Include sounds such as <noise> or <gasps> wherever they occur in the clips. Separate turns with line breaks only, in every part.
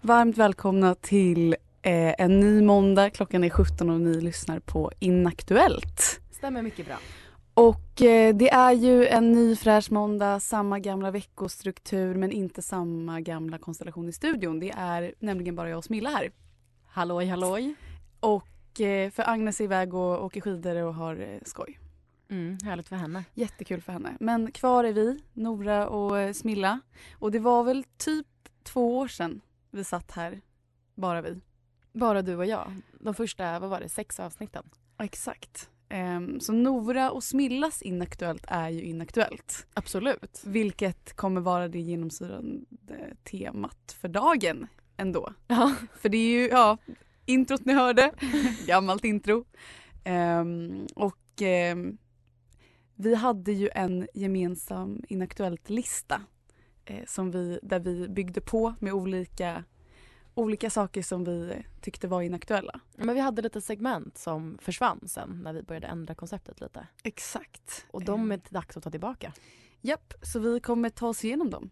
Varmt välkomna till eh, en ny måndag. Klockan är 17 och ni lyssnar på Inaktuellt.
Stämmer mycket bra.
Och eh, det är ju en ny fräsch måndag, samma gamla veckostruktur men inte samma gamla konstellation i studion. Det är nämligen bara jag och Smilla här.
Halloj halloj.
Och eh, för Agnes är iväg och åker skidor och har eh, skoj.
Mm, härligt för henne.
Jättekul för henne. Men kvar är vi, Nora och eh, Smilla. Och det var väl typ två år sedan vi satt här, bara vi.
Bara du och jag. De första, vad var det, sex avsnitten?
Ja, Exakt. Ehm, så Nora och Smillas Inaktuellt är ju inaktuellt.
Absolut.
Vilket kommer vara det genomsyrande temat för dagen ändå.
Ja.
För det är ju, ja, introt ni hörde, <laughs> gammalt intro. Ehm, och ehm, vi hade ju en gemensam Inaktuellt-lista eh, som vi, där vi byggde på med olika, olika saker som vi tyckte var inaktuella.
Men vi hade lite segment som försvann sen när vi började ändra konceptet lite.
Exakt. Eh.
Och de är dags att ta tillbaka.
Japp, så vi kommer ta oss igenom dem.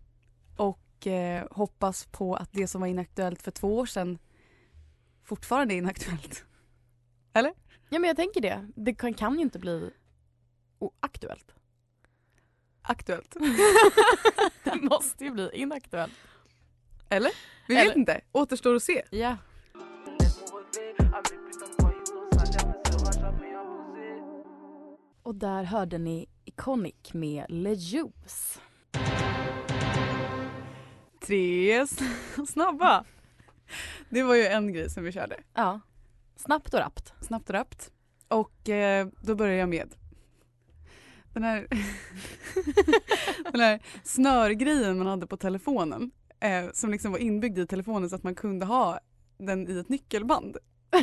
Och eh, hoppas på att det som var inaktuellt för två år sedan fortfarande är inaktuellt.
Ja men jag tänker det. Det kan, kan ju inte bli oaktuellt.
Aktuellt.
<laughs> det måste ju bli inaktuellt.
Eller? Vi
Eller-
vet inte. Återstår att se.
Ja. Och där hörde ni Iconic med Le Juice.
Tre s- <laughs> snabba. Det var ju en grej som vi körde.
Ja. Snabbt och rappt.
Snabbt och rappt. Och eh, då börjar jag med den här, <laughs> den här snörgrejen man hade på telefonen. Eh, som liksom var inbyggd i telefonen så att man kunde ha den i ett nyckelband.
<laughs>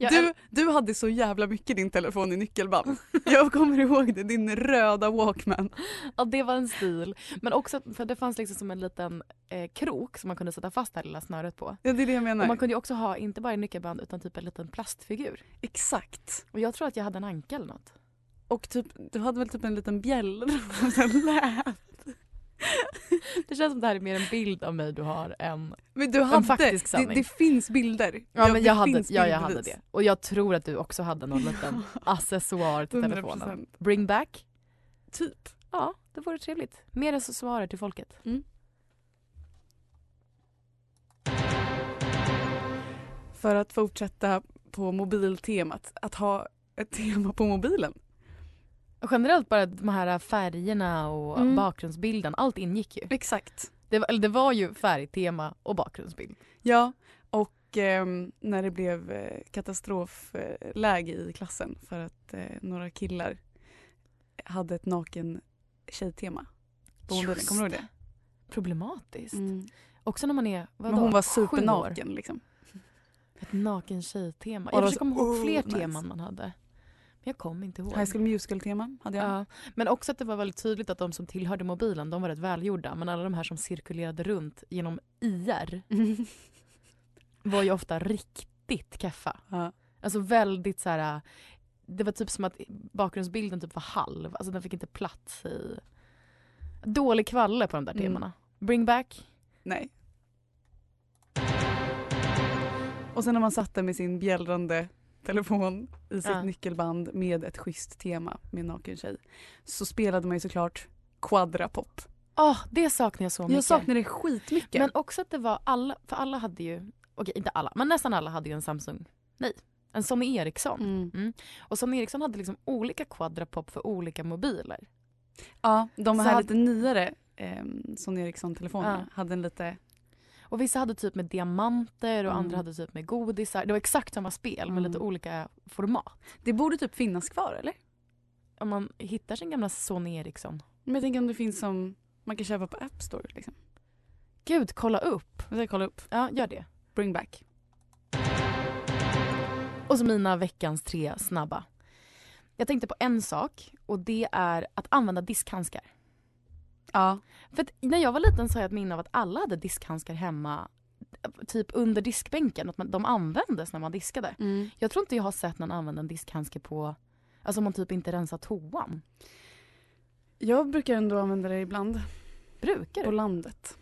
Jag
Du, du hade så jävla mycket din telefon i nyckelband. Jag kommer ihåg det, din röda Walkman.
Ja, det var en stil. Men också för det fanns liksom som en liten eh, krok som man kunde sätta fast det här lilla snöret på.
Ja, det är det jag menar.
Och man kunde ju också ha, inte bara en nyckelband, utan typ en liten plastfigur.
Exakt.
Och jag tror att jag hade en anka eller något.
Och typ, du hade väl typ en liten
<laughs>
bjällra och sen lä.
Det känns som det här är mer en bild av mig du har än...
Men du hade,
faktisk
det,
sanning.
det finns bilder.
Ja, men
det
jag hade,
finns
ja, jag hade
bildbevis.
det. Och jag tror att du också hade någon <laughs> liten accessoar till
100%.
telefonen. Bring back.
Typ.
Ja, det vore trevligt. Mer accessoarer till folket.
För att fortsätta på mobiltemat, att ha ett tema på mobilen.
Och generellt bara de här eh, färgerna och
Mm.
bakgrundsbilden, allt ingick ju.
Exakt.
Det var, eller det var ju färgtema och bakgrundsbild.
Ja, och ehm, när det blev eh, katastrofläge i klassen för att eh, några killar hade ett naken tjejtema på mobilen.
Just
Kommer du ihåg det?
Problematiskt.
Mm.
Också när man är, vadå,
Men hon var
sju år.
supernaken liksom.
Ett naken tjej-tema.
Och
Jag
då
försöker komma
så,
ihåg
oh,
fler
nice.
teman man hade. Men jag kommer inte ihåg.
High School Musical-tema hade jag.
Ja. Men också att det var väldigt tydligt att de som tillhörde mobilen, de var rätt välgjorda. Men alla de här som cirkulerade runt genom IR var ju ofta riktigt keffa.
Ja.
Alltså väldigt så här det var typ som att bakgrundsbilden typ var halv, alltså den fick inte plats i... Dålig kvalle på de där
Mm.
temana. Bring back.
Nej. Och sen när man satt där med sin bjällrande telefon i sitt
Ja.
nyckelband med ett schysst tema med en naken tjej så spelade man ju såklart quadrapop.
Åh, det saknar jag så mycket.
Jag saknar det skitmycket.
Men också att det var alla, för alla hade ju, okej inte alla, men nästan alla hade ju en Samsung, nej, en Sony Ericsson.
mm.
Och Sony Ericsson hade liksom olika quadrapop för olika mobiler.
Ja, de
Så
här
hade-
lite nyare eh, Sony Ericsson-telefonerna
Ja.
hade en lite...
Och vissa hade typ med diamanter och
Mm.
andra hade typ med godisar. Det var exakt samma spel med
Mm.
lite olika format.
Det borde typ finnas kvar eller?
Om man hittar sin gamla Sony Ericsson.
Men jag tänker om det finns som man kan köpa på App Store liksom.
Gud, kolla upp.
Jag ska kolla upp.
Ja, gör det.
Bring back.
Och så mina veckans tre snabba. Jag tänkte på en sak och det är att använda diskhandskar.
Ja.
För att när jag var liten så har jag ett minne av att alla hade diskhandskar hemma typ under diskbänken, att man, de användes när man diskade.
Mm.
Jag tror inte jag har sett någon använda en diskhandske på, alltså om man typ inte rensar toan.
Jag brukar ändå använda det ibland
Brukar
på
du?
landet.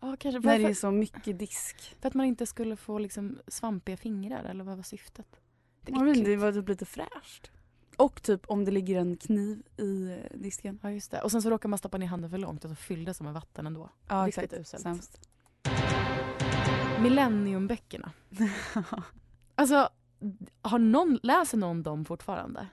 Ja, kanske
När det
för,
är så mycket disk.
för att man inte skulle få liksom svampiga fingrar eller vad var syftet? Det
Ja,
är
men
äckligt.
det var typ lite fräscht. Och typ om det ligger en kniv i eh, disken.
Ja just det. Och sen så råkar man stoppa ner handen för långt och så fylldes de med vatten ändå.
Ja
Riktigt
<laughs>
uselt.
Sämst.
Millenniumböckerna. Alltså, har någon, läser någon dem fortfarande?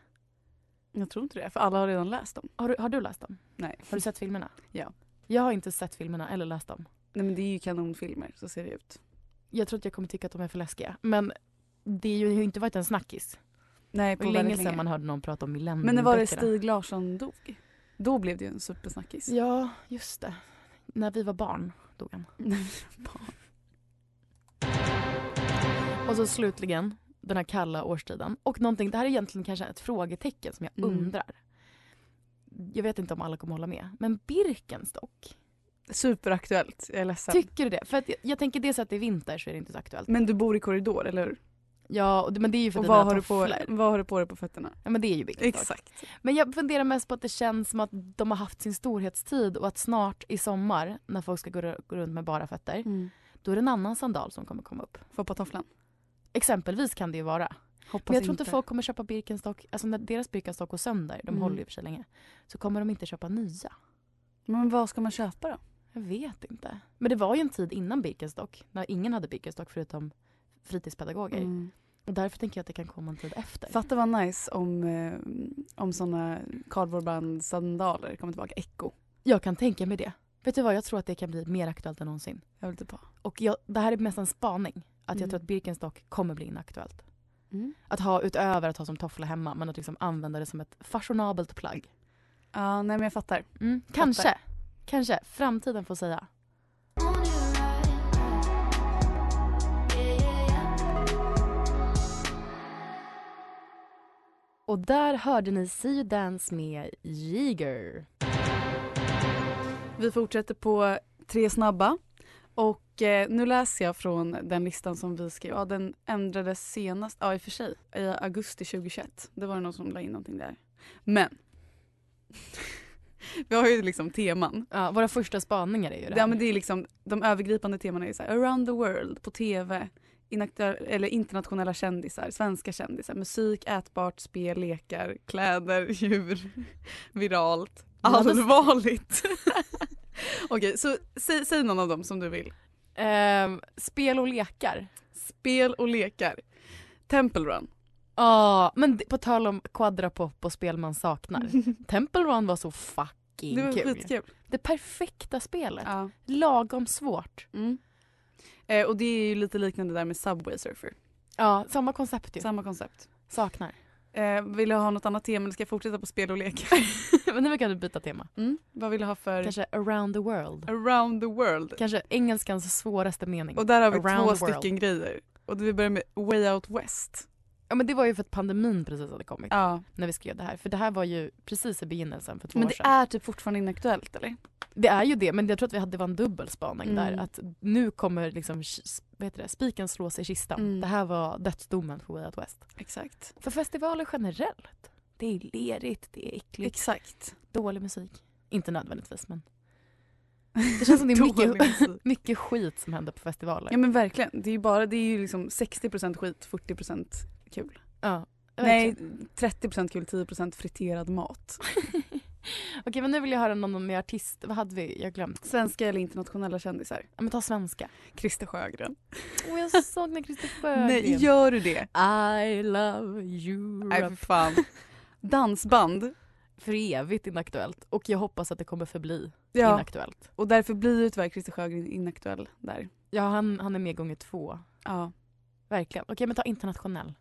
Jag tror inte det, för alla har redan läst dem.
Har du, har du läst dem?
Nej.
Har du sett filmerna?
Ja.
Jag har inte sett filmerna eller läst dem.
Nej men det är ju kanonfilmer, så ser det ut.
Jag tror att jag kommer tycka att de är för läskiga. Men det är ju- har ju inte varit en snackis.
Nej,
Det
på
var länge
väldigt
sedan man hörde någon prata om millennium.
Men när var det Stig Larsson dog? Då blev det ju en supersnackis.
Ja, just det. När vi var barn dog han. Och så slutligen den här kalla årstiden. Och någonting, det här är egentligen kanske ett frågetecken som jag
Mm.
undrar. Jag vet inte om alla kommer hålla med. Men Birkenstock,
<laughs> Superaktuellt, jag är ledsen.
tycker du det? För att jag, jag tänker dels att det är vinter så är det inte så aktuellt.
men du bor i korridor, eller hur?
Ja, och det- men det är ju för
Och
dina
vad har, du på,
tofflor.
vad har du på dig på fötterna?
Ja, men det är ju Birkenstock.
Exakt.
Men jag funderar mest på att det känns som att de har haft sin storhetstid och att snart i sommar när folk ska gå, ru- gå runt med bara fötter
Mm.
då är det en annan sandal som kommer komma upp.
Få på tofflan.
Exempelvis kan det ju vara.
Hoppas
Men jag tror inte folk kommer köpa Birkenstock, alltså när deras Birkenstock går sönder, de
Mm.
håller ju för sig länge, så kommer de inte köpa nya.
Men vad ska man köpa då?
Jag vet inte. Men det var ju en tid innan Birkenstock, när ingen hade Birkenstock förutom fritidspedagoger.
Mm.
Och därför tänker jag att det kan komma en tid efter.
Fatta vad nice om, eh, om såna kardborrebandsandaler kommer tillbaka. Echo.
Jag kan tänka mig det. Vet du vad, jag tror att det kan bli mer aktuellt än någonsin.
Jag vill typ ha.
Och jag, det här är mest en spaning. Att
Mm.
jag tror att Birkenstock kommer bli inaktuellt.
Mm.
Att ha utöver att ha som toffla hemma, men att liksom använda det som ett fashionabelt plagg.
Ja, nej men jag fattar.
Mm. Kanske. Kanske. Framtiden får säga. Och där hörde ni See You Dance med Jiger.
Vi fortsätter på tre snabba. Och eh, nu läser jag från den listan som vi skrev. Ja, den ändrades senast, ja i och för sig, i augusti 2021. Det var det någon som la in någonting där. Men. <laughs> vi har ju liksom teman.
Ja, våra första spaningar är ju det
Ja,
här.
men det är liksom, de övergripande temana är så här, around the world, på tv, inaktuell, eller internationella kändisar, svenska kändisar, musik, ätbart, spel, lekar, kläder, <laughs> djur, viralt,
Ja, det-
allvarligt. <laughs> Okej, så säg, säg någon av dem som du vill.
Ehm, spel och lekar.
Spel och lekar. Temple Run.
Ja, men det- på tal om quadrapop och spel
<laughs>
man saknar. Temple Run var så fucking
Det var
kul.
skitkul.
Det perfekta spelet.
Ja.
Lagom svårt.
Mm. Eh, och det är ju lite liknande där med Subway Surfer.
Ja, samma koncept ju.
Samma koncept.
Saknar. <laughs>
Eh, vill du ha något annat tema eller ska jag fortsätta på spel och lekar?
<laughs> men nu kan du byta tema.
Mm. Vad vill du ha för...
Kanske around the world.
Around the world.
Kanske engelskans svåraste mening.
Och där har vi
Around
två
the world.
stycken grejer. Och vi börjar med Way Out West.
Ja men det var ju för att pandemin precis hade kommit
Ja.
när vi skrev det här. För det här var ju precis i begynnelsen för två
Men
år
det
sedan.
är typ fortfarande inaktuellt eller?
Det är ju det, men jag tror att vi hade, det var en dubbel spaning där.
Mm.
Att nu kommer liksom, k- vad heter det, spiken slås i kistan.
Mm.
Det här var dödsdomen för Way Out West.
Exakt.
För festivaler generellt. Det är lerigt, det är äckligt,
Exakt.
dålig musik. Inte nödvändigtvis men. Det känns som det
<laughs>
är
Dålig musik.
mycket, mycket skit som händer på festivaler.
Ja men verkligen. Det är ju bara, det är ju liksom 60% skit, 40% kul.
Ja,
Nej,
verkligen.
30% kul, 10% friterad mat.
<laughs> Okej men nu vill jag höra någon med artist, vad hade vi? Jag har glömt.
Svenska eller internationella kändisar?
Ja, men ta svenska.
Christer Sjögren.
Åh jag
<laughs>
saknar Christer Sjögren.
Nej, gör du det?
I love
Nej, för
Europe.
fan. Dansband.
För evigt inaktuellt och jag hoppas att det kommer förbli
Ja,
inaktuellt.
och därför blir ju tyvärr Christer Sjögren inaktuell där.
Ja han, han är med gånger två.
Ja,
Verkligen. Okej men ta internationell.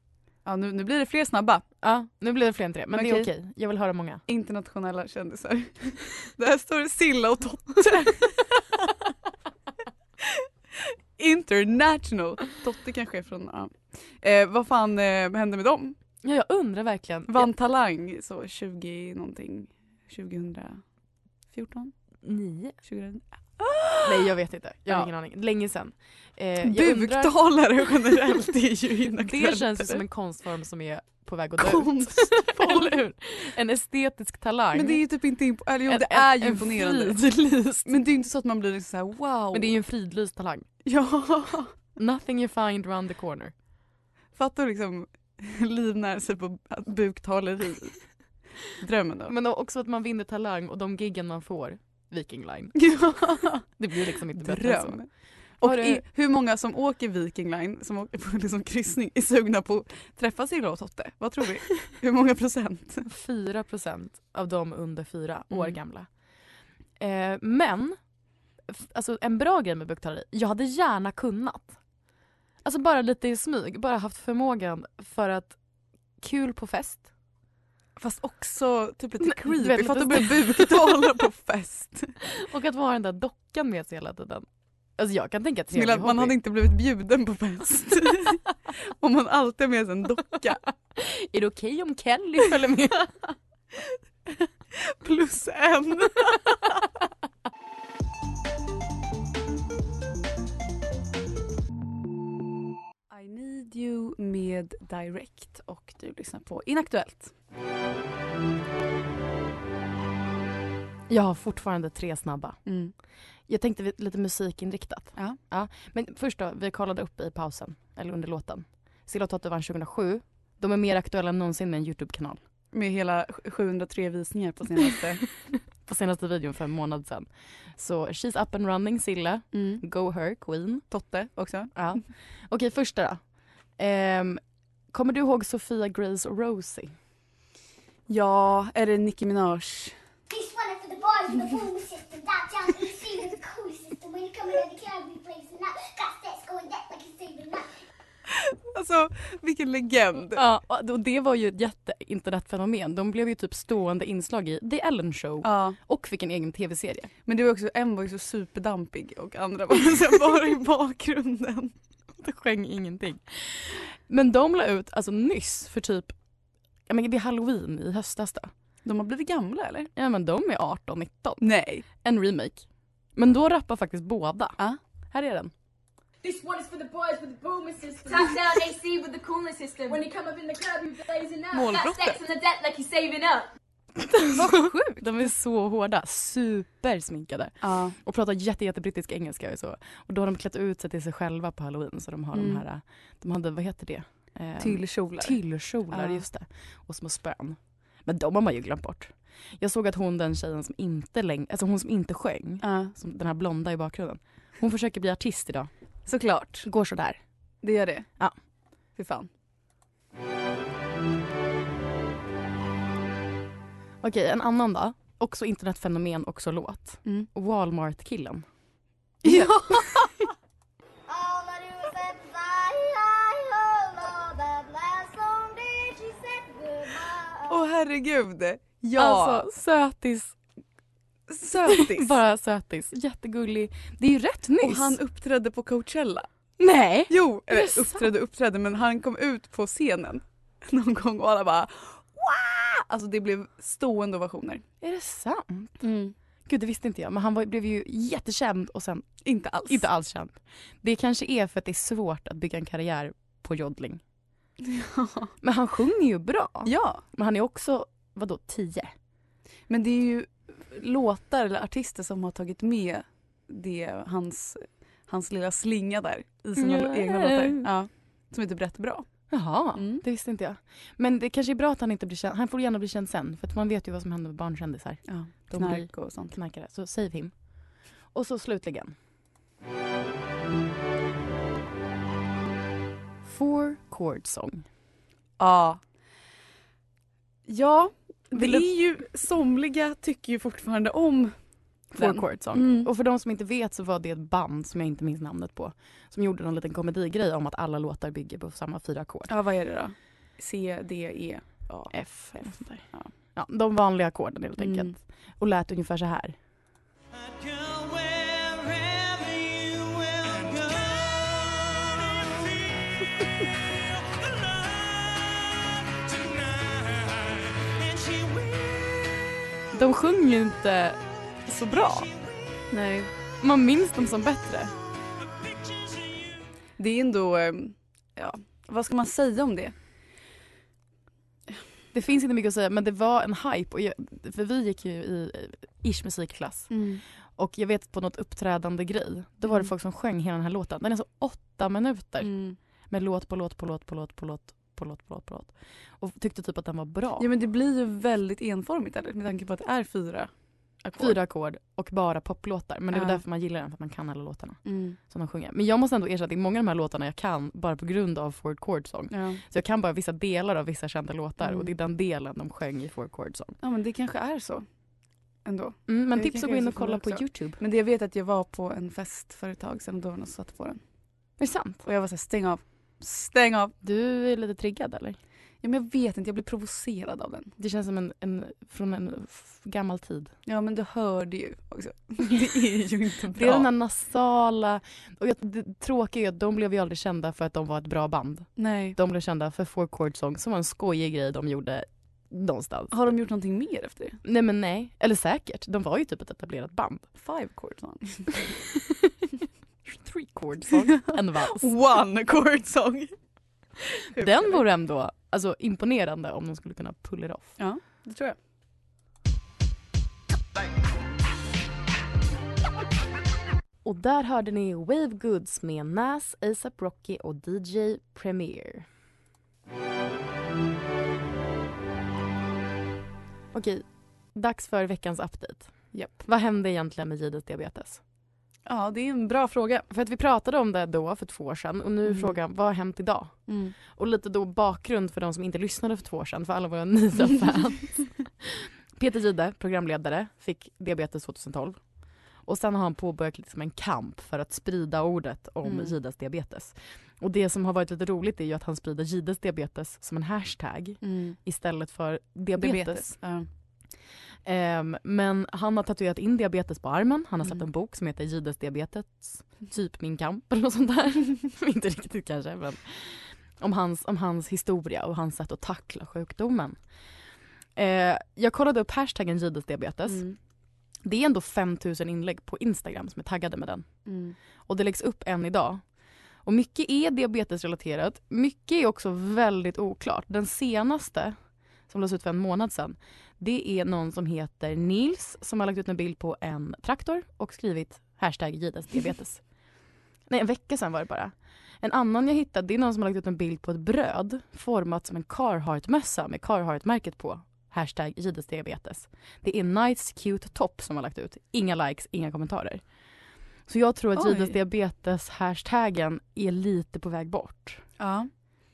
ja nu, nu blir det fler snabba.
Ja nu blir det fler än tre men det
Okej.
är okej. Jag vill höra många.
Internationella kändisar. <laughs> Där står det Silla och Totte. <laughs> International. Totte kanske är från, ja. Eh, vad fan eh, hände med dem?
Ja jag undrar verkligen.
Vann Talang så 20 någonting, 2014?
Jag, nio?
2000.
<gasps> Nej jag vet inte. Jag har
Ja.
ingen aning. Länge sedan. Eh, jag undrar-
Buktalare generellt det är
<laughs>
ju inaktuellt.
Det känns ju som en konstform som är på väg att dö ut.
konstform.
<laughs> Eller hur? En estetisk talang.
Men det är ju typ inte imponerande. Eller jo,
En-
det är ju
en
imponerande.
Fridlyst.
Men det är ju inte så att man blir liksom så här wow.
Men det är ju en fridlyst talang.
Ja, <laughs>
Nothing you find round the corner.
fattar du liksom <laughs> livnär sig på buktaleri. Drömmen då.
Men också att man vinner talang och de giggen man får, Viking Line.
<laughs> Ja,
Det blir liksom inte bättre än så.
dröm. Och
Har du-
i, hur många som åker Viking Line, som åker på <laughs> liksom kryssning, är sugna på att träffa Silla och Totte? Vad tror vi? Hur många procent?
4 procent av de under fyra år
Mm.
gamla. Eh, men, f- alltså en bra grej med buktaleri, jag hade gärna kunnat. Alltså bara lite i smyg, bara haft förmågan för att kul på fest.
Fast också typ lite
Nej, du vet,
creepy.
lite
Fatta att börja buktala på fest.
Och att vara den där dockan med sig hela tiden. Alltså jag kan tänka att
Smilla, man hade inte blivit bjuden på <laughs> fest. Om man alltid har med sig en docka
Är det okej om Kelly följer med? <laughs>
plus en. I need you med Direct och du lyssnar på Inaktuellt.
Jag har fortfarande tre snabba.
Mm.
Jag tänkte vi- lite musikinriktat.
Ja.
Men först då, vi kollade upp i pausen, eller under låten. Silla och Totte vann 2007. De är mer aktuella än någonsin med en Youtube-kanal.
Med hela 703 visningar på senaste.
<laughs> På senaste videon för en månad sedan. Så she's up and running Silla.
Mm.
Go her queen.
Totte också.
Ja. <laughs> Okej, första då. Ehm, kommer du ihåg Sofia Grace och Rosie?
Ja, är det Nicki Minaj?
He's running for the boys with the boom sister. That John EC with the cool sister. When you come in at the club, we blazing up. Got stats going that like it's saving up.
Alltså, vilken legend.
Ja, och och det var ju ett jätteinternetfenomen. De blev ju typ stående inslag i The Ellen Show
Ja.
och fick en egen tv-serie.
Men det var också, en var ju så superdampig och andra <laughs> var liksom bara i bakgrunden.
Det skäng ingenting. Men de la ut, alltså nyss, för typ, ja men det är halloween i höstas då.
De har blivit gamla eller?
Ja men de är 18, 19.
Nej.
En remake. Men då rappar faktiskt båda.
Ja.
Här är den.
This one is for the boys with the boomer system. Touchdown AC with the cooler system. When you come up in the club, you blazing up. Got sex on the deck like he's saving up.
Vad sjukt! De är så hårda, supersminkade
Ja.
och pratar jätte, jättebrittisk engelska och så. Och då har de klätt ut sig till sig själva på halloween så de har de
Mm.
här, de hade, vad heter det? Ehm,
Tyllkjolar.
Tyllkjolar,
Ja.
just det. Och små spön. Men de har man ju glömt bort. Jag såg att hon den tjejen som inte läng- alltså hon som inte sjöng,
Ja,
som den här blonda i bakgrunden. Hon försöker bli artist idag.
såklart.
Går sådär.
Det gör det.
Ja.
Fy fan.
Okej, en annan då. Också internetfenomen, också låt.
Mm.
Walmart-killen.
Ja.
All I do is say, I, I, oh, Lord, that last song did she said goodbye.
Åh herregud. Ja.
Alltså sötis,
sötis.
bara sötis. Jättegullig. Det är ju rätt nyss.
Och han uppträdde på Coachella.
Nej!
Jo,
det
eller
sant?
uppträdde uppträdde men han kom ut på scenen <laughs> någon gång och alla bara Wah! Alltså det blev stående ovationer.
Är det sant?
Mm.
Gud det visste inte jag men han var, blev ju jättekänd och sen
Inte alls.
inte alls känd. Det kanske är för att det är svårt att bygga en karriär på joddling. Men han sjunger ju bra.
Ja,
Men han är också, vadå, tio?
men det är ju låtar eller artister som har tagit med det, hans, hans lilla slinga där i sina
Ja.
egna låtar. Ja, som är typ rätt bra.
Jaha,
Mm.
det visste inte jag. Men det kanske är bra att han inte blir känd. Han får gärna bli känd sen för att man vet ju vad som händer med barnkändisar.
Ja,
De
knark och sånt.
knarkare. Så save him. Och så slutligen. Four chord song.
Ja. Ja, det
Vill du-
är ju, somliga tycker ju fortfarande om
Four
den.
chord song.
Mm.
Och för de som inte vet så var det ett band som jag inte minns namnet på som gjorde någon liten komedigrej om att alla låtar bygger på samma fyra ackord.
Ja, vad är det då? C, D, E, A.
F eller något sånt där.
Ja.
Ja, de vanliga ackorden helt enkelt.
Mm.
Och lät ungefär så här. De sjunger ju inte så bra.
Nej.
Man minns dem som bättre.
Det är ändå, eh, ja, vad ska man säga om det?
Det finns inte mycket att säga men det var en hype. Och jag, för vi gick ju i eh, ish musikklass. Och jag vet på något uppträdande grej, då var det
Mm.
folk som sjöng hela den här låten. Den är så åtta minuter
Mm.
med låt på låt på låt på låt på låt på låt på låt på låt. Och tyckte typ att den var bra.
Ja men det blir ju väldigt enformigt eller? med tanke på att det är fyra ackord.
Fyra ackord och bara poplåtar. Men det var
Ja.
därför man gillar den, för att man kan alla låtarna
Mm.
som de sjunger. Men jag måste ändå erkänna att det är många av de här låtarna jag kan bara på grund av Four Chord Song.
Ja.
Så jag kan bara vissa delar av vissa kända låtar
Mm.
och det är den delen de sjöng i Four Chord Song.
ja men det kanske är så ändå.
Mm, men
Jag
tips
tycker
att gå
det är
in
så
och kolla
coolt
på
också.
Youtube.
Men det jag vet är att jag var på en fest för ett tag sedan och då var det någon som satte på den.
Är det sant?
Och jag var såhär stäng av, stäng av.
Du är lite triggad eller?
Ja men jag vet inte, jag blev provocerad av den.
Det känns som en, en från en f- gammal tid.
Ja men du hörde ju också. <laughs> Det är ju inte bra.
Det är den här nasala... Och jag, det tråkiga är ju att de blev ju aldrig kända för att de var ett bra band.
Nej.
De blev kända för Four Chord Song som var en skojig grej de gjorde någonstans.
Har de gjort någonting mer efter det?
Nej men nej, eller säkert. De var ju typ ett etablerat band.
Five chord song.
Three
<laughs>
chord song, en vals.
One chord song.
Den vore ändå alltså, imponerande om de skulle kunna pull it off.
Ja, det tror jag.
Och där hörde ni Wave Goods med Nas, ASAP Rocky och DJ Premier. Okej, dags för veckans update.
Japp.
Vad hände egentligen med Gides diabetes?
Ja, det är en bra fråga.
För att vi pratade om det då för två år sedan och nu är
Mm.
frågan vad har hänt idag? Och lite då bakgrund för de som inte lyssnade för två år sedan, för alla
<laughs>
våra nya fans. Peter Gide, programledare, fick diabetes 2012. Och sen har han påbörjat liksom en kamp för att sprida ordet om
Mm.
Gides diabetes. Och det som har varit lite roligt är ju att han sprider Gides diabetes som en hashtag istället för diabetes.
Diabetes. mm. Ja.
Ehm, men han har tatuerat in diabetes på armen, han har släppt
Mm.
en bok som heter Gides diabetes, typ min kamp eller något sånt där. <laughs> Inte riktigt kanske men om hans, om hans historia och hans sätt att tackla sjukdomen. Eh, jag kollade upp hashtaggen Gides diabetes.
Mm.
Det är ändå 5000 inlägg på Instagram som är taggade med den.
Mm.
Och det läggs upp en idag. Och mycket är diabetesrelaterat. Mycket är också väldigt oklart. Den senaste, som lades ut för en månad sedan, det är någon som heter Nils som har lagt ut en bild på en traktor och skrivit hashtag
<laughs>
Gides diabetes. Nej, en vecka sedan var det bara. En annan jag hittade, det är någon som har lagt ut en bild på ett bröd format som en Carhartt-mössa med Carhartt-märket på. Hashtag Gides diabetes. Det är Nice Cute Top som har lagt ut. Inga likes, inga kommentarer. Så jag tror att
Oj.
Gides diabetes-hashtaggen är lite på väg bort.
Ja.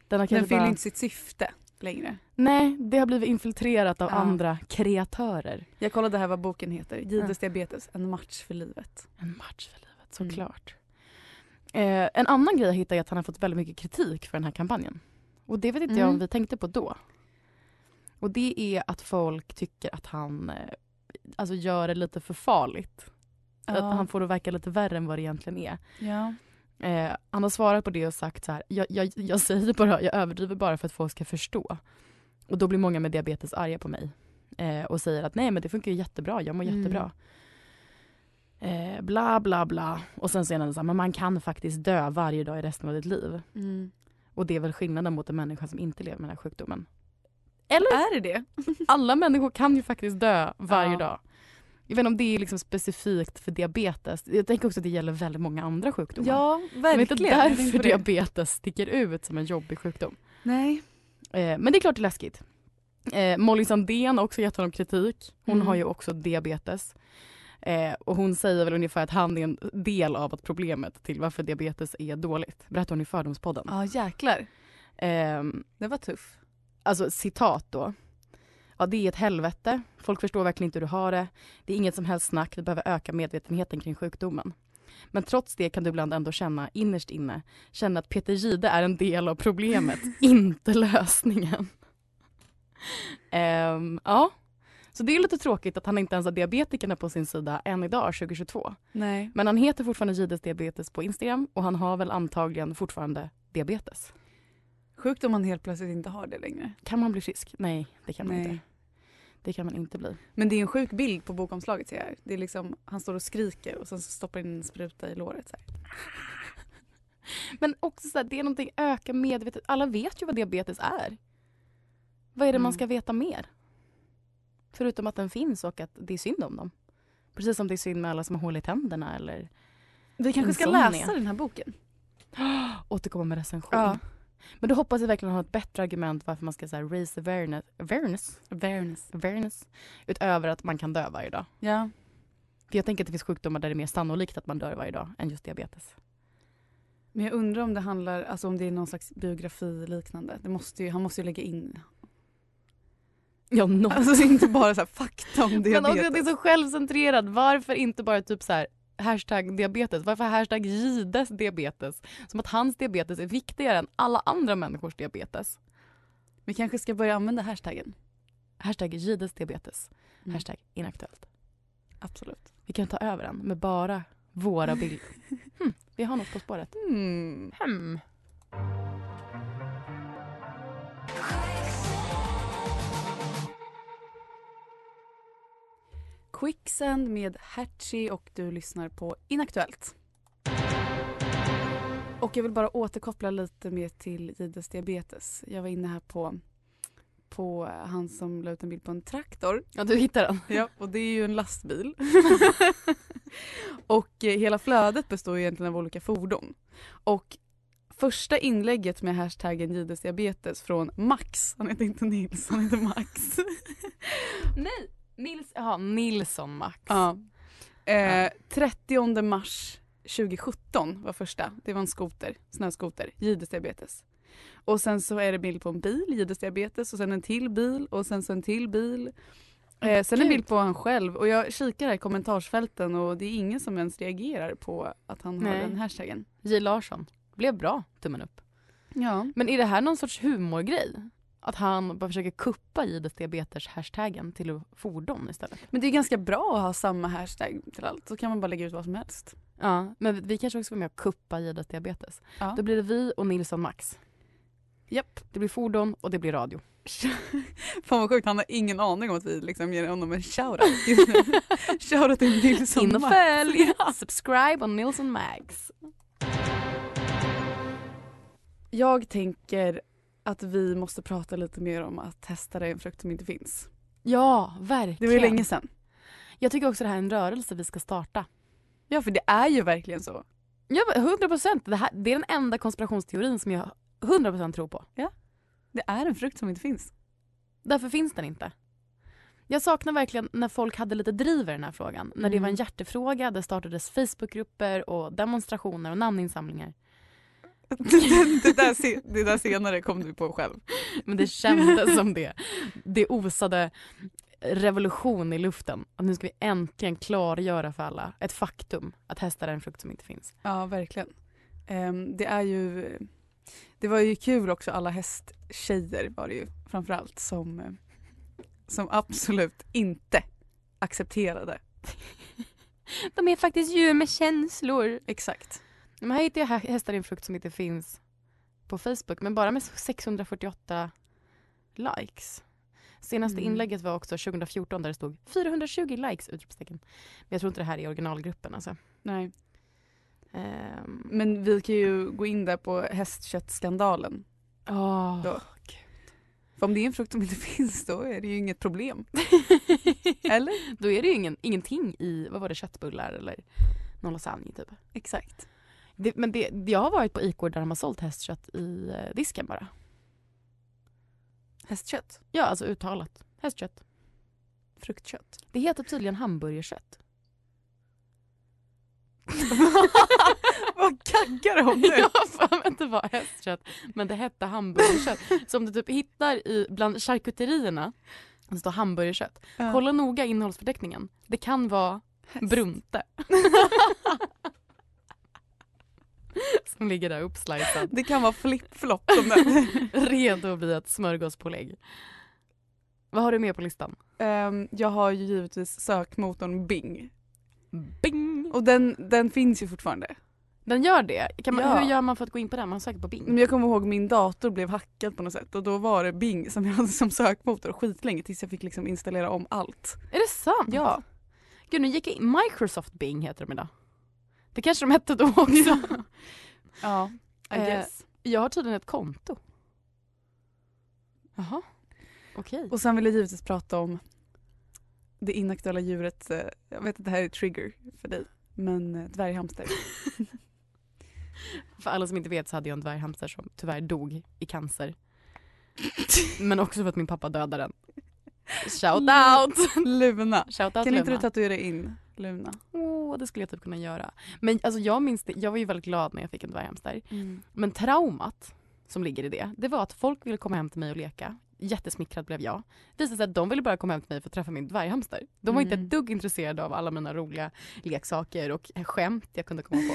Den
Den
har kanske
fyller
bara...
inte sitt syfte längre.
Nej, det har blivit infiltrerat av
Ja.
andra kreatörer.
Jag kollade här vad boken heter. Gides
Ja.
diabetes, en match för livet.
En match för livet,
Mm.
såklart. Eh, en annan grej jag hittade är att han har fått väldigt mycket kritik för den här kampanjen. Och det vet inte jag om
Mm.
vi tänkte på då. Och det är att folk tycker att han eh, alltså gör det lite för farligt. Att han får det att verka lite värre än vad det egentligen är.
ja.
Eh, han har svarat på det och sagt så här, jag, jag, jag säger bara, jag överdriver bara för att folk ska förstå. Och då blir många med diabetes arga på mig eh, och säger att nej men det funkar ju jättebra, jag mår
Mm.
jättebra. Eh, bla bla bla. Och sen säger han så här, men man kan faktiskt dö varje dag i resten av ditt liv.
Mm.
Och det är väl skillnaden mot en människa som inte lever med den här sjukdomen.
Är det det?
Alla människor kan ju faktiskt dö varje
Ja.
dag. Jag vet inte om det är liksom specifikt för diabetes. Jag tänker också att det gäller väldigt många andra sjukdomar.
verkligen.
det är inte
Jag tänkte
därför
på det.
diabetes sticker ut som en jobbig sjukdom.
Nej.
Eh, men det är klart det är läskigt. Eh, Molly Sandén har också gett honom kritik. Hon
Mm.
har ju också diabetes. Eh, och hon säger väl ungefär att han är en del av att problemet till varför diabetes är dåligt. Berättar hon i Fördomspodden.
Ja, jäklar.
Ehm,
Det var tuff.
alltså citat då. Ja, det är ett helvete. Folk förstår verkligen inte hur du har det. Det är inget som helst snack. Vi behöver öka medvetenheten kring sjukdomen. Men trots det kan du ibland ändå känna innerst inne, känna att Peter Gide är en del
<laughs>
av problemet, inte lösningen. Ehm, ja, så det är lite tråkigt att han inte ens har diabetikerna på sin sida än idag 2022.
Nej.
Men han heter fortfarande Gides diabetes på Instagram och han har väl antagligen fortfarande diabetes.
Sjukt om man helt plötsligt inte har det längre.
Kan man bli frisk? Nej, det kan man
Nej.
inte. Det kan man inte bli.
Men det är en sjuk bild på bokomslaget ser jag. Det är liksom, han står och skriker och sen så stoppar in en spruta i låret. Så här.
Men också så här, det är någonting öka medvetet. Alla vet ju vad diabetes är. Vad är det
Mm.
man ska veta mer? Förutom att den finns och att det är synd om dem. Precis som det är synd med alla som har hål i tänderna eller
Vi kanske ska
Insomnia.
läsa den här boken.
återkomma med recension.
Ja.
Men då hoppas jag verkligen ha ett bättre argument varför man ska så här, raise awareness, awareness,
Awareness.
awareness utöver att man kan dö varje dag.
Ja.
För jag tänker att det finns sjukdomar där det är mer sannolikt att man dör varje dag än just diabetes.
Men jag undrar om det handlar, alltså om det är någon slags biografi liknande. Det måste ju, han måste ju lägga in.
Ja, något.
Alltså inte bara så här fakta om diabetes.
<laughs> Men också att det är så självcentrerat. Varför inte bara typ så här hashtag diabetes? Varför hashtag Gides diabetes? Som att hans diabetes är viktigare än alla andra människors diabetes.
Vi kanske ska börja använda hashtaggen.
Hashtag Gides diabetes.
Mm.
Hashtag inaktuellt.
Absolut.
Vi kan ta över den med bara våra
<laughs>
bilder. Hmm, vi har något på spåret.
Mm.
Hmm.
Quicksand med Hatchie och du lyssnar på Inaktuellt. Och jag vill bara återkoppla lite mer till Gides diabetes. Jag var inne här på, på han som la ut en bild på en traktor.
Ja, du hittar den.
Ja, och det är ju en
<laughs>
lastbil. och eh, hela flödet består ju egentligen av olika fordon. Och första inlägget med hashtaggen Gides diabetes från Max, han heter inte Nils, han heter Max.
Nej, Nils, ja, Nilsson Max.
Ja. Eh, 30 mars 2017 var första. Det var en skoter, snöskoter, Gides diabetes. Och sen så är det bild på en bil, Gides diabetes och sen en till bil och sen så en till bil. Eh, sen en bild på han själv och jag kikar här i kommentarsfälten och det är ingen som ens reagerar på att han har
Nej.
den hashtaggen.
J Larsson. Blev bra, tummen upp.
Ja.
Men är det här någon sorts humorgrej? Att han bara försöker kuppa Gides diabetes-hashtaggen till fordon istället?
Men det är ganska bra att ha samma hashtag till allt. Så kan man bara lägga ut vad som helst.
Ja, men vi kanske också var med och kuppa Gides diabetes.
Ja.
Då blir det vi och Nilsson Max.
Japp.
Det blir fordon och det blir radio.
Fan vad sjukt, han har ingen aning om att vi liksom ger honom en shoutout <laughs> just nu. shoutout till Nilsson
In och
Max. <laughs>
följ! Subscribe on Nilsson Max.
Jag tänker att vi måste prata lite mer om att testa det en frukt som inte finns.
Ja, verkligen.
Det var ju länge sedan.
Jag tycker också det här är en rörelse vi ska starta.
Ja, för det är ju verkligen så.
Ja, 100 procent. Det, här- det är den enda konspirationsteorin som jag 100 procent tror på.
Det är en frukt som inte finns.
Därför finns den inte. Jag saknar verkligen när folk hade lite driv i den här frågan. När det
Mm.
var en hjärtefråga, det startades Facebookgrupper och demonstrationer och namninsamlingar.
<laughs> det, det, där, se- det <laughs> där senare kom du på själv.
Men det kändes som det. Det osade revolution i luften. Att nu ska vi äntligen klargöra för alla ett faktum att hästar är en frukt som inte finns.
Ja, verkligen. Ehm, det är ju... Det var ju kul också, alla hästtjejer var det ju framförallt som, eh, som absolut inte accepterade.
De är faktiskt djur med känslor.
Exakt.
Men här hittar jag hä- hästar i en frukt som inte finns på Facebook men bara med 648 likes. Senaste
Mm.
inlägget var också 2014 där det stod 420 likes! Utropstecken. Men jag tror inte det här är originalgruppen alltså.
Nej.
Ehm,
Men vi kan ju gå in där på hästköttskandalen.
åh.
Då. För om det är en frukt som inte <laughs> finns då är det ju inget problem. <laughs> Eller?
Då är det ju ingen, ingenting i, vad var det, köttbullar eller någon lasagne typ.
Exakt.
Det, men det, jag har varit på Icord där de har sålt hästkött i eh, disken bara.
Hästkött.
Ja, alltså uttalat. Hästkött.
Fruktkött.
Det heter tydligen hamburgerkött.
<laughs> Vad gaggar de <laughs> om nu?
<laughs> Jag har för mig att det var hästkött, men det hette hamburgerkött. Så om du typ hittar i, bland charkuterierna, det står hamburgerkött.
Ja.
Kolla noga innehållsförteckningen. Det kan vara
<laughs>
Brunte. Som ligger där uppslicead.
Det kan vara flip-flop. om den.
Redo att bli ett smörgåspålägg. Vad har du med på listan?
<laughs> Ehm, jag har ju givetvis sökmotorn Bing.
Bing!
Och den, den finns ju fortfarande.
Den gör det. Kan man,
Ja. Mm.
Hur gör man för att gå in på den? Man söker på Bing.
Men jag kommer ihåg min dator blev hackad på något sätt och då var det Bing som jag hade som sökmotor skitlänge tills jag fick liksom installera om allt.
Är det sant? Ja. Gud, nu gick jag in. Microsoft Bing heter de idag. Det kanske de hette då också.
<laughs> Ja, I
Eh,
guess.
jag har tydligen ett konto. Jaha. Okej.
Och sen vill jag givetvis prata om det inaktuella djuret. eh, Jag vet att det här är trigger för dig, men eh, dvärghamster.
För alla som inte vet så hade jag en dvärghamster som tyvärr dog i cancer. <laughs> Men också för att min pappa dödade den. Shout
<laughs>
out!
Luna.
Shout
Mm.
out
Kan inte du
Luna.
tatuera in Luna?
Åh, det skulle jag typ kunna göra. Men alltså, jag minns det, jag var ju väldigt glad när jag fick en dvärghamster. Men traumat som ligger i det, det var att folk ville komma hem till mig och leka. Jättesmickrad blev jag. Det visade sig att de ville bara komma hem till mig för att träffa min dvärghamster. De var inte
Mm.
ett dugg intresserade av alla mina roliga leksaker och skämt jag kunde komma på.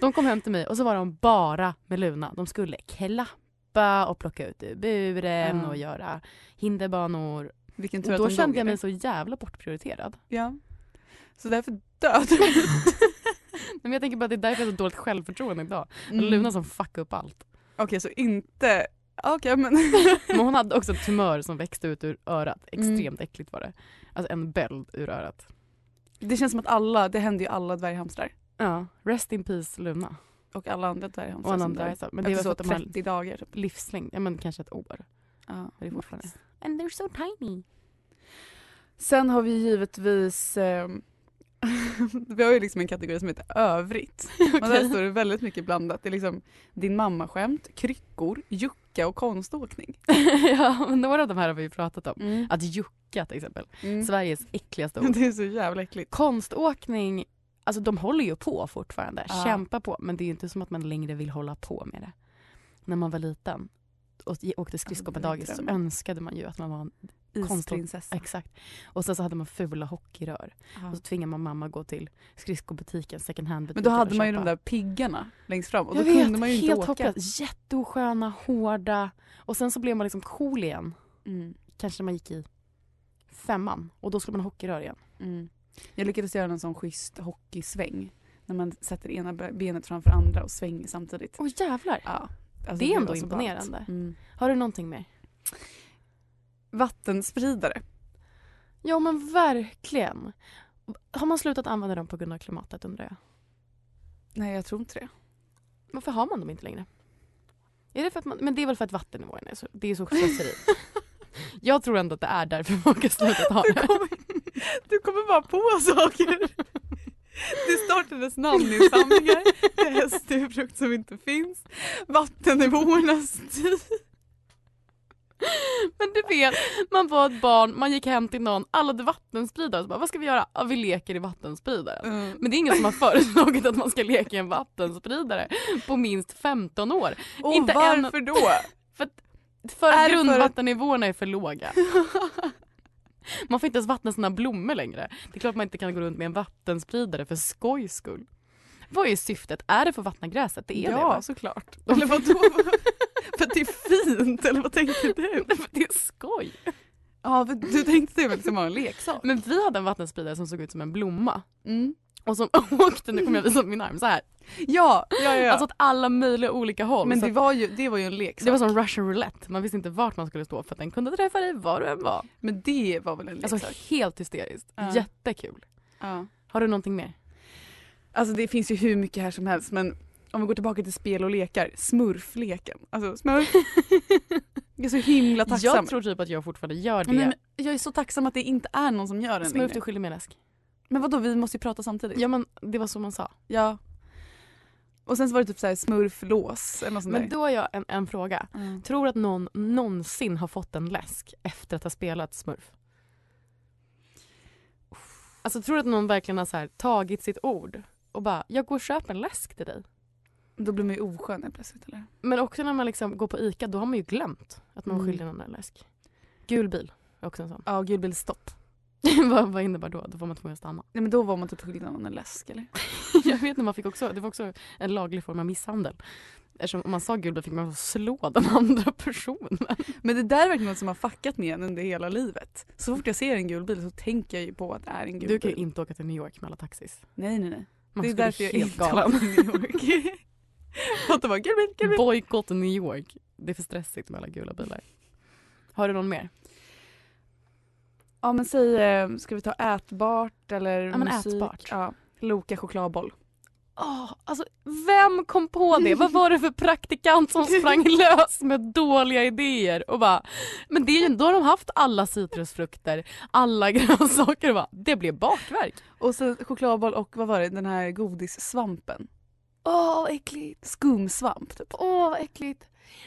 De kom hem till mig och så var de bara med Luna. De skulle klappa och plocka ut ur buren
Ja.
och göra hinderbanor.
Vilken tur
Och
att
då
de
kände
dog,
jag mig
eller?
så jävla bortprioriterad.
Ja. Så därför
<laughs>
död.
Nej, Men jag tänker bara att det är därför jag har så dåligt självförtroende idag.
Mm.
Luna som fuckade upp allt.
Okej, så inte... Okej,
<laughs>
men...
Men hon hade också ett tumör som växte ut ur örat.
Mm.
Extremt äckligt var det. Alltså en böld ur örat.
Det känns som att alla, det händer ju alla dvärghamstrar
Ja, rest in peace Luna.
och alla andra
Och
dvärghamstrar.
en
som
andra
dör.
alltså. Men det var
Efter
för
så
att de har
30 dagar typ.
livslängd, ja men kanske ett år.
Ja,
Det är fortfarande. <laughs>
<laughs>
And they're so tiny.
Sen har vi givetvis... Eh, <laughs> vi har ju liksom en kategori som heter
<laughs>
övrigt. Och där står det väldigt mycket blandat. Det är liksom din mamma-skämt, kryckor, jucka och konståkning.
ja, men några av de här har vi ju pratat om.
Mm.
Att jucka till exempel.
Mm.
Sveriges äckligaste
<laughs>
ord.
Det är så jävla äckligt.
Konståkning, alltså de håller ju på fortfarande.
Ja.
Kämpa på. Men det är ju inte som att man längre vill hålla på med det. När man var liten och åkte skridskor på
Alltså, det är
dagis så
drömmen.
önskade man ju att man var en
Isprinsessa.
Exakt. Och sen så hade man fula hockeyrör.
Ja.
Och så tvingade man mamma gå till skridskobutiken, second hand-butiken
Men då
och
hade man ju
köpa.
de där piggarna längst fram och då
jag vet,
kunde man ju inte
helt
åka.
hopplöst. Jätteosköna, hårda. Och sen så blev man liksom cool igen.
Mm.
Kanske när man gick i femman. Och då skulle man ha hockeyrör igen.
Mm. Jag lyckades göra en sån schysst hockeysväng. När man sätter ena be- benet framför andra och svänger samtidigt.
Åh jävlar.
Ja. Alltså,
Det är ändå
var så ballt.
imponerande.
Mm.
Har du någonting mer?
Vattenspridare.
Ja men verkligen. Har man slutat använda dem på grund av klimatet undrar jag?
Nej jag tror inte det.
Varför har man dem inte längre? Är det för att man, men det är väl för att vattennivån är så, det är så slöseri. jag tror ändå att det är därför <laughs> folk har slutat ha det.
Du kommer bara på saker. Det startades namninsamlingar, det är häst är frukt som inte finns, vattennivåernas tid.
Men du vet, man var ett barn, man gick hem till någon, alla hade vattenspridare. Så bara, vad ska vi göra? Ja, vi leker i vattenspridaren.
Mm.
Men det är ingen som har föreslagit att man ska leka i en vattenspridare på minst 15 år.
Och
Inte en-
varför då?
För, att- för
Är
att
det för att-
grundvattennivåerna är
<laughs>
för låga. Man får inte ens vattna sina blommor längre. Det är klart man inte kan gå runt med en vattenspridare för skojs skull. Vad är syftet? Är det för att vattna gräset? Det <laughs> är det alltså.
ja
va? <laughs>
såklart. Eller vadå? <laughs> för att det är fint eller vad tänker du?
Nej, för Det är skoj.
Ja för du tänkte det väl som var en leksak?
Men vi hade en vattenspridare som såg ut som en blomma.
Mm.
och som <laughs> åkte, nu kommer jag visa min arm så här.
Ja, ja, ja.
Alltså åt alla möjliga olika håll.
men
så
det var, ju, det var ju en lek.
att, det var som Russian roulette, man visste inte vart man skulle stå för att den kunde träffa dig var du än var.
Men det var väl en leksak?
Alltså helt hysteriskt,
Ja.
jättekul.
ja.
Har du någonting mer?
alltså det finns ju hur mycket här som helst men om vi går tillbaka till spel och lekar, smurfleken. Alltså smurf. Jag är så himla tacksam.
Jag tror typ att jag fortfarande gör det.
Nej, men jag är så tacksam att det inte är någon som gör den
Smurf
längre.
du skiljer med läsk.
Men vadå, vi måste ju prata samtidigt.
Ja men det var så man sa.
Ja. Och sen så var det typ så här smurflås eller något sånt
Men
där.
då har jag en, en fråga.
Mm.
Tror att någon någonsin har fått en läsk efter att ha spelat smurf? Alltså tror du att någon verkligen har så här, tagit sitt ord och bara, jag går och köper en läsk till dig.
Då blir man ju oskön helt plötsligt eller?
Men också när man liksom går på ICA, då har man ju glömt att man
Mm.
skiljer någon en läsk. Gul bil, är också en sån.
Ja, gulbilstopp.
<laughs> vad, vad innebär då? Då får man tvungen att stanna.
Nej men då var man typ skyldig någon en läsk eller?
<laughs> jag vet när man fick också, det var också en laglig form av misshandel. Eftersom om man sa gul bil fick man slå den andra personen.
Men det där är verkligen något som har fuckat med en under hela livet. Så fort jag ser en gul bil så tänker jag ju på att det är en gul
Du kan
bil.
ju inte åka till New York med alla taxis.
Nej nej <laughs> nej.
Man
det är
skulle
därför jag
bli
inte åker till New
<laughs>
York. Att det var gul bil, gul bil.
Bojkott New York. Det är för stressigt med alla gula bilar. Har du någon mer?
Ja men säg, eh, ska vi ta ätbart eller
Ja, men
musik?
ätbart.
Ja, Loka chokladboll.
Oh, alltså, vem kom på det? Vad var det för praktikant som <laughs> sprang lös med dåliga idéer? Och bara, men det är ju, då har de haft alla citrusfrukter, alla grönsaker. Och bara, det blev bakverk.
Och sen chokladboll och vad var det, den här godissvampen.
Åh, vad äckligt.
Skumsvamp typ.
Åh, vad äckligt.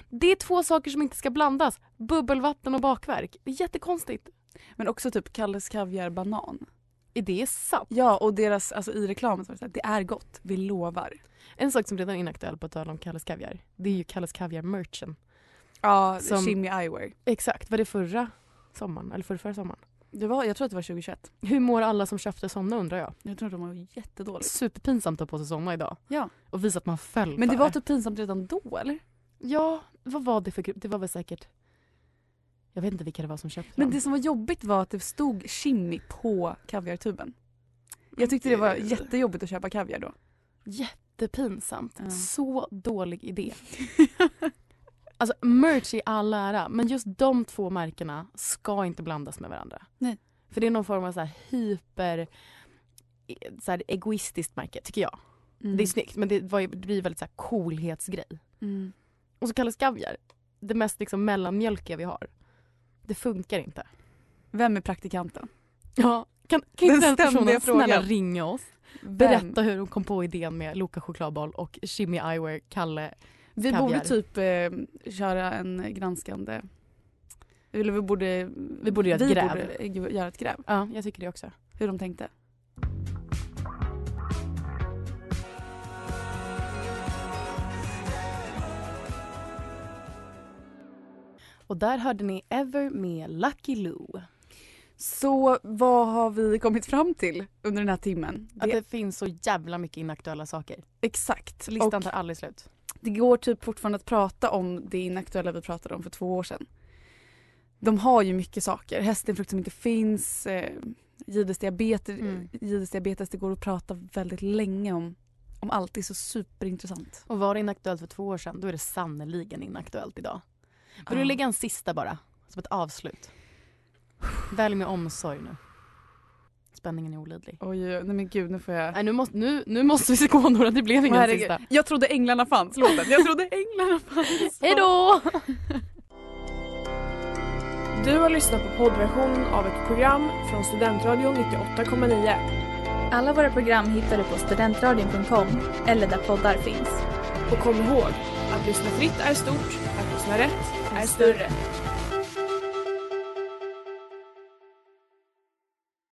Det är två saker som inte ska blandas. Bubbelvatten och bakverk. Det är jättekonstigt.
Men också typ Kalles kaviar banan.
Är det sant?
Ja och deras, alltså i reklamen så var det så här, det är gott, vi lovar.
En sak som redan är inaktuell på tal om Kalles Kaviar, det är ju Kalles Kaviar-merchen.
Ja,
Som-
Shimmy Eyewear.
Exakt, var det förra sommaren? Eller förrförra sommaren?
Det var, jag tror att det var 2021.
Hur mår alla som köpte såna undrar jag.
Jag tror att de var jättedåligt.
Superpinsamt att ha på sig såna idag.
Ja.
Och visa att man föll
Men det
för
var typ pinsamt redan då eller?
Ja, vad var det för grupp? Det var väl säkert... Jag vet inte vilka det var som köpte
Men
dem.
det som var jobbigt var att det stod Shimmy på kaviartuben. Jag tyckte det var
Gud.
jättejobbigt att köpa kaviar då.
Jättepinsamt.
Ja.
Så
<laughs>
dålig idé. alltså merch i all ära, men just de två märkena ska inte blandas med varandra.
Nej.
För det är någon form av så här hyper e, så här egoistiskt märke, tycker jag. Det är snyggt, men det, var ju, det blir väldigt så här coolhetsgrej.
Mm.
Och så kallas kaviar, det mest liksom mellanmjölkiga vi har. Det funkar inte.
Vem är praktikanten?
Ja, kan, kan inte
Den
den
ständiga
personen snälla
frågan.
ringa oss?
Vem?
Berätta hur de kom på idén med Loka chokladboll och Shimmy Eyewear, Kalle
Vi
kaviar.
borde typ eh, köra en granskande... Eller vi borde...
Vi borde göra ett gräv.
borde, eh, gu- göra ett gräv.
Ja, jag tycker det också.
Hur de tänkte.
Och där hörde ni Ever med Lucky Lou.
Så vad har vi kommit fram till under den här timmen?
Att
Det-
det finns så jävla mycket inaktuella saker.
exakt.
Listan
Och
tar aldrig slut.
det går typ fortfarande att prata om det inaktuella vi pratade om för två år sedan. De har ju mycket saker. Hästinflukt som inte finns, eh, Jihdes diabetes,
Mm.
Jihdes diabetes. Det går att prata väldigt länge om, om allt. Det är så superintressant.
Och var det inaktuellt för två år sedan, då är det sannerligen inaktuellt idag. Vill du lägga en sista bara, som ett avslut? Välj med omsorg nu. Spänningen är olidlig.
Oj, oj, oj. nej men gud nu får jag...
Nej, nu, måste, nu, nu måste vi gå Nora, det blev
Åh,
ingen
herregud.
sista.
Jag trodde änglarna fanns, låten. Jag trodde änglarna fanns.
Hej då!
Du har lyssnat på poddversionen av ett program från Studentradion 98,9.
Alla våra program hittar du på studentradion.com eller där poddar finns.
Och kom ihåg, att lyssna fritt är stort, att lyssna rätt är större.